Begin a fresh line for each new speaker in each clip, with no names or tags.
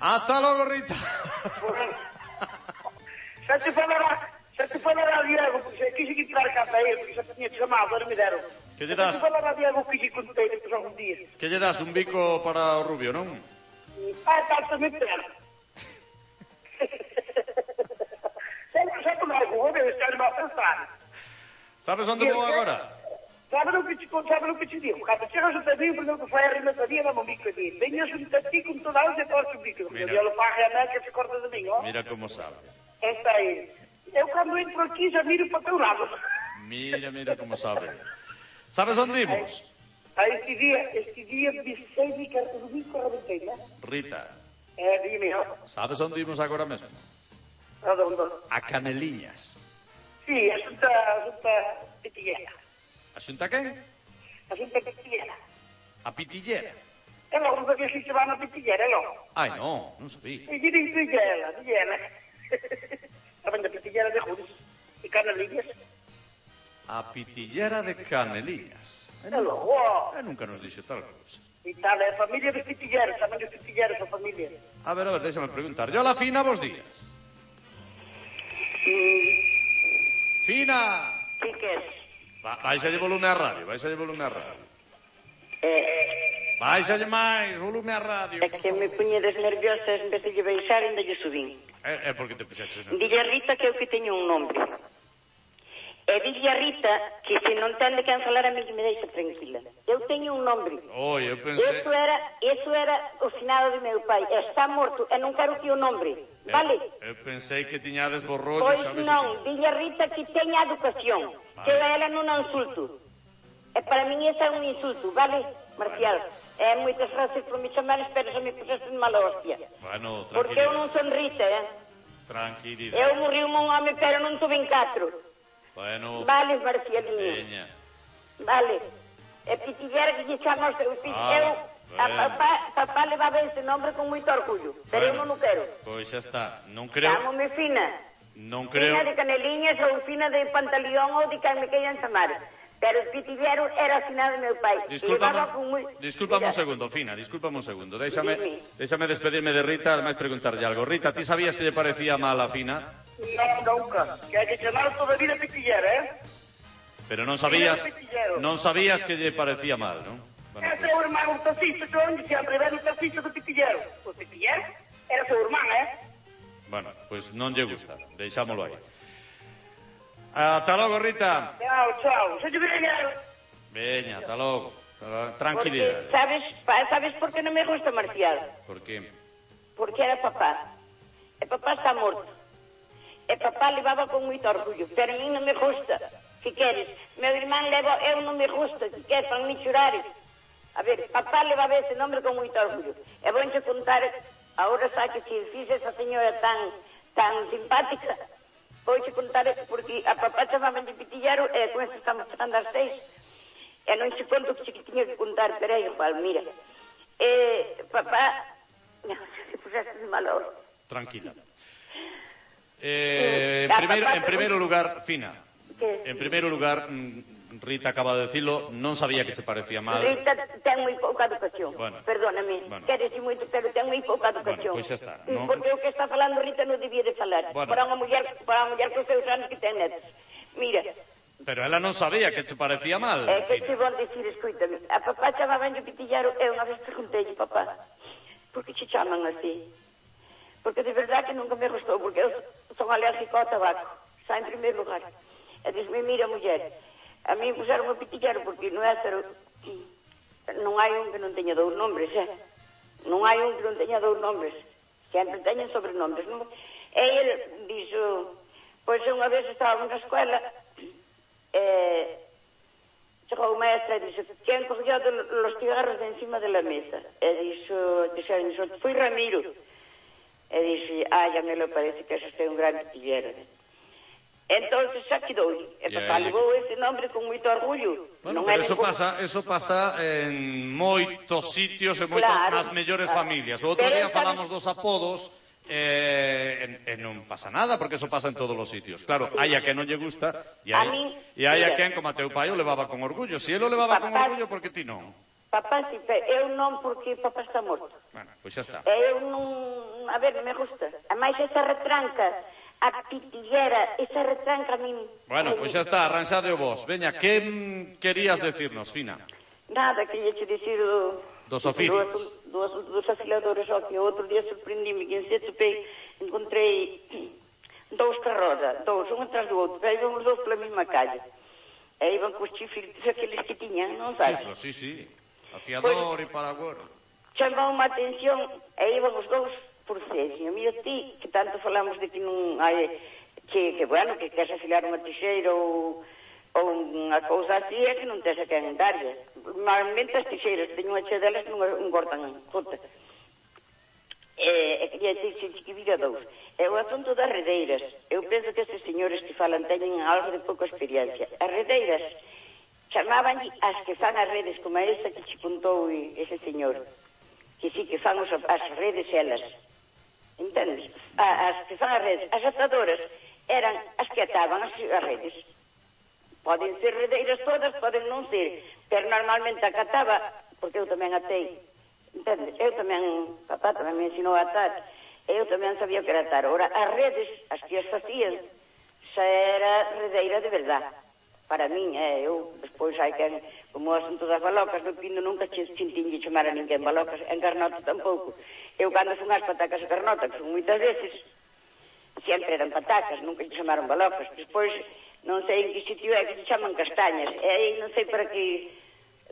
Hasta luego, Rita.
Se te falar, se te falar ali algo, porque eu quis entrar cá para ele, porque já tinha te chamado, não me deram.
Que
Se
lle
te
das,
falar ali algo, quis ir com ele por algum dia.
que lle das un bico para o rubio, non?
Ah, tá, também deram. Sempre já tomar com o homem, eu estou mal pensado.
Sabes onde vou agora?
Sabe no que te conto, sabe no que te digo. Cada dia eu já sabia, por exemplo, foi a arrematadinha da mamãe que disse. Venha, eu te digo, como tu não, eu posso te digo.
Mira.
Eu olho para a Renata, se corta de mim, ó.
Mira como sabe.
Esta aí. Eu quando entro aqui já miro para teu lado.
Mira, mira como sabe. Sabes onde imos?
Ah, este dia, este dia 16 de Car- domingo arrebentei, né?
Rita,
É, dime, ó.
sabes onde imos agora mesmo?
Nada, nada.
A Caneliñas.
Sim, a junta, a junta pitiguera.
A xunta quen?
A junta pitiguera.
A Pitillera.
É logo que eu se chamar na pitiguera, é logo.
Ai, non, non sabía.
E diga, diga ela, diga ela. A venda pitiguera de Rudes e Canalinhas.
A Pitillera de Caneliñas.
É logo, ó.
E nunca nos dixo tal cousa.
E tal, é a família dos pitigueros, chamam de pitigueros a família.
A ver, a ver, déxame preguntar. Yola Fina, vos días.
E...
Fina!
Que queres?
Va, baixalle volume á radio, baixalle volume á radio.
Eh,
Baixalle máis, volume á radio.
é que me puñedes nerviosa en vez de lle baixar, ainda lle subín.
É, é Eh, porque te puxaches na...
Dille a Rita que eu que teño un nombre. E dille a Rita que se non ten de quen falar a mí que me deixa tranquila. Eu teño un nombre.
Oi, eu pensei...
Eso era, eso era o finado de meu pai. Está morto e non quero que o nombre. Vale?
Eu, eu pensei eh, que tiñades borrollo,
Pois
sabes?
non, dille a Rita que teña a educación. Que a ela non a insulto. E para min ese é un insulto, vale, Marcial? E moitas gracias por me chamar, espero se me puseste en mala hostia.
Bueno,
Porque eu non
tranquilidade.
son Rita, eh?
Tranquilidade.
Eu morri un home, pero non tuve en catro.
Bueno,
Vale, Marcialinho.
veña.
Vale. E pitillera que lle chama aos teus filhos.
Ah,
eu, Eh, a
ben.
papá, papá levaba ese nombre con moito orgullo. Pero eu
Bueno,
non o quero.
Pois xa está. Non creo...
Chámome Fina.
Non
Fina de
creo...
Caneliñas ou Fina de Pantaleón ou de que me queiran chamar. Pero o pitillero era afinado meu pai. Levaba con moi...
Disculpame, disculpame un
Mira,
segundo, Fina, disculpame un segundo. Déixame,
Dime.
déixame despedirme de Rita, ademais preguntarlle algo. Rita, ti sabías que lle parecía mal a Fina,
Não, nunca. Quer que chamar toda a vida pitiguera, é?
pero non sabías,
Era pitillero.
non sabías que lle parecía mal, non? Bueno,
É
pois,
seu irmão, o taxista, que onde sempre vai no taxista do Pitilleiro. O Pitilleiro era seu irmão, é?
bueno, pois non lle gusta, deixámolo aí. Ata logo, Rita.
Tchau, tchau. Seja bem-vindo.
Veña, ata logo. Tra-
Porque,
Tranquilidade.
sabes, pa- sabes por que non me gusta Marcial?
Por que?
porque era papá. E papá está morto. E papá levaba con moito orgullo, pero a mí non me gusta. Que queres? Meu irmán leva, eu non me gusta, que queres, para me churares. A ver, papá levaba ese nombre con moito orgullo. E vouche contar, ahora sabe que se fixe esa señora tan, tan simpática, vouche contar, porque a papá chamaba de pitillero, e con isto estamos chegando ás seis, E non che conto que che tiña que contar, pero é igual, mira. Eh, papá, se puseste de malo.
Tranquila. Eh, en,
Ah,
primeiro,
papá,
en primeiro lugar, Fina,
Que-
en primeiro lugar, mm, Rita acaba de decirlo, non sabía que se parecía mal.
Rita ten moi Então, pouca educación.
Bueno.
Perdóname,
Bueno.
quero dicir moito, pero ten moi pouca educación.
pois xa está,
Mm,
non-
Porque o que está falando Rita non debía de falar.
Bueno.
Para unha muller, para unha muller cos seus anos que ten netos. Mira,
Pero ela non sabía que se parecía mal.
é que te
Fina.
vou dicir, escúchame. A papá chamaban de pitillaro, e unha vez preguntei, papá, por que te chaman así? porque de verdad que nunca me gustou, porque eu son alérgico ao tabaco, xa en primeiro lugar. E dixme, mira, muller, a mí puseron o pitillero, porque non é ser... Non hai un um que non teña dous nombres, é? Non hai un que non teña dous nombres. Sempre teñen sobrenombres, é non? E el dixo, pois unha vez estaba na escola, eh, e Chegou o maestro e dixo, quen cogió de los cigarros de encima de la mesa? E dixo, dixeron, dixo, foi Ramiro. E dixo, ah, a me parece que ese é un gran pitillero. Entonces xa quedou. E
E
papá
aí-
levou ese nombre con moito orgullo.
Bueno,
Non
pero
é
eso
ningún-
pasa, eh. eso pasa en moitos sitios, en moitas
Claro,
nas mellores
claro.
familias. O outro
Pero
día
esta
falamos
vez-
dos apodos eh, en, en non pasa nada, porque eso pasa en todos os sitios. Claro, hai a que non lle gusta e
A
hai,
min-
e hai a
mira.
quen, como a teu pai, o levaba con orgullo. Se ele o levaba con
Papá-
orgullo, porque ti non?
Papá, si, pe- eu non porque papá está morto.
Bueno, pois xa está.
E eu non... A ver, me gusta. A máis esa retranca, a pitillera, esa retranca a min...
Bueno, pois xa está, arranxade o vos. Veña, que mm, querías decirnos, Fina?
Nada, que lle che dicir do...
Dos oficios.
Do, asu- do, asu- dos afiladores, ó, que outro día surpreendime, que en sete pe encontrei dous carrozas, dous, un um atrás do outro, e iban os dous pela mesma calle. E iban cos chifres aqueles que tiñan, non sabes?
Chiflo, sí, sí. Afiador e paraguero.
chamou-me a atención e iban os dous por cesio. Mira ti, que tanto falamos de que non hai... Que, que bueno, que queres afilar unha tixeira ou, ou unha cousa así é que non tens a quen darlle. Normalmente as tixeiras teñen unha che delas non engordan fruta. E, e queria dicir que vira dous. É o asunto das redeiras. Eu penso que estes señores que falan teñen algo de pouca experiencia. As redeiras chamaban as que fan as redes como esa que che contou e- ese señor. Que sí, que fan os, as redes elas. Entendes? A- As que fan as redes. As atadoras eran as que ataban as, as redes. Poden ser redeiras todas, poden non ser. Pero normalmente acataba, porque eu tamén atei. Entende? Eu tamén, papá tamén me ensinou a atar. Eu tamén sabía que era atar. Ora, as redes, as que as facían, xa era redeira de verdad. Para min, eh, eu, despois hai que, como o asunto das balocas, no pindo nunca che sentín de chamar a ninguén balocas, en Carnota tampouco. Eu, cando fun ás patacas a Carnota, que fun moitas veces, sempre eran patacas, nunca lle chamaron balocas. Despois, non sei en que sitio é que lle chaman castañas. E aí non sei para que...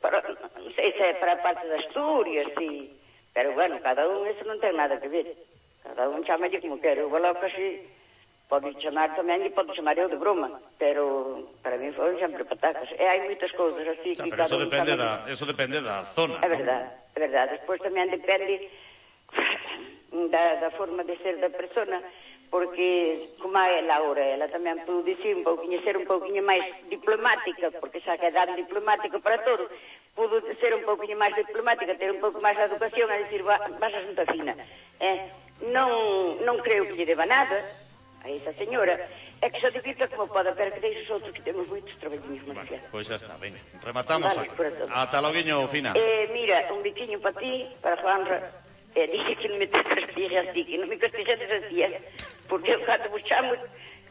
Para, non sei se é para a parte de Asturias, si... Pero, bueno, cada un eso non ten nada que ver. Cada un chamalle como quer. O balocas si, pode chamar tamén e pode chamar eu de broma. Pero para mí foron sempre patacas. E hai moitas cousas así
Xa,
que
pero
cada
eso
un
depende
chama-
da, eso depende da zona,
É
non?
verdade, é verdade. Despois tamén depende da, da forma de ser da persona, porque como é Laura, ela tamén pudo dicir un pouquinho, ser un pouquinho máis diplomática, porque xa que é dar diplomático para todo, pudo ser un pouquinho máis diplomática, ter un pouco máis de educación, a dicir, "Va- vas a xunta fina. Eh, non, non creo que lle deba nada a esa señora, é que xa divirta como poda, pero que deixe os outros que temos moitos traballinhos máis
Bueno, pois xa está, veña. Rematamos
Vale,
aquí.
corazón.
Ata loguiño, Fina.
Eh, mira, un biquiño para ti, para Juanra. Eh, dice que non me te castigue así, que non me castigue así, eh, porque eu cando vos chamo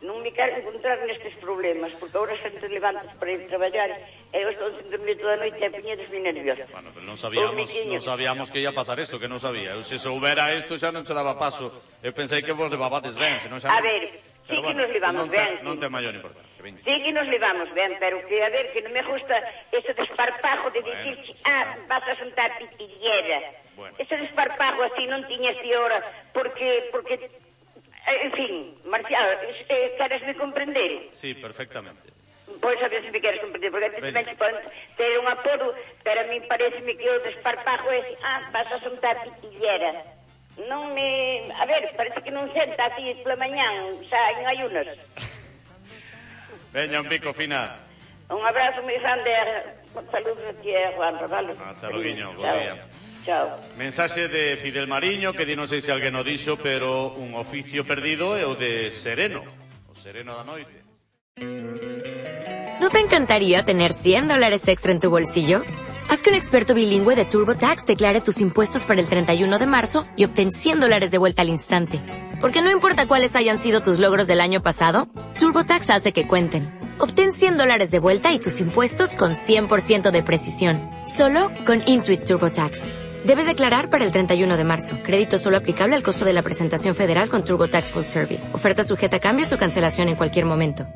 non me quero encontrar nestes problemas, porque agora sempre levantas para ir traballar e eu estou sen dormir toda a noite e poñedesme nerviosa.
Bueno, pero non sabíamos,
miquiño.
non sabíamos que ia pasar isto, que non sabía. Eu se soubera isto xa non se daba paso. Eu pensei que vos levabades ben, senón xa... non-
A ver,
Pero
sí que nos
non
levamos
ten-
ben.
Non ten maior importancia, veña.
Sí que nos levamos ben, pero que, a ver, que non me gusta ese desparpajo de
Bueno.
dicir que, ah, vas a xuntar pitillera.
Bueno.
Ese desparpajo así non tiñas de hora, porque, porque, eh, en fin, Marcial, es- eh, queresme comprender?
Sí, perfectamente.
Pois a ver se me queres comprender, porque antes
Veña.
tamén se pode ter un apodo, pero a mí pareceme que o desparpajo é, ah, vas a xuntar pitillera. Non me... A ver, parece que non senta así pola mañán, xa en ayunas.
Veña, un bico, Fina.
Un abrazo muy grande. Saludos a ti, eh, Juan Raval.
Hasta luego, buen
Chao.
día.
Chao.
Mensaxe de Fidel Mariño, que di non sei se alguén o dixo, pero un oficio perdido é o de sereno. O sereno da noite.
¿No te encantaría tener 100 dólares extra en tu bolsillo? Haz que un experto bilingüe de TurboTax declare tus impuestos para el 31 de marzo y obtén 100 dólares de vuelta al instante. Porque no importa cuáles hayan sido tus logros del año pasado, TurboTax hace que cuenten. Obtén 100 dólares de vuelta y tus impuestos con 100% de precisión, solo con Intuit TurboTax. Debes declarar para el 31 de marzo. Crédito solo aplicable al costo de la presentación federal con TurboTax Full Service. Oferta sujeta a cambios o cancelación en cualquier momento.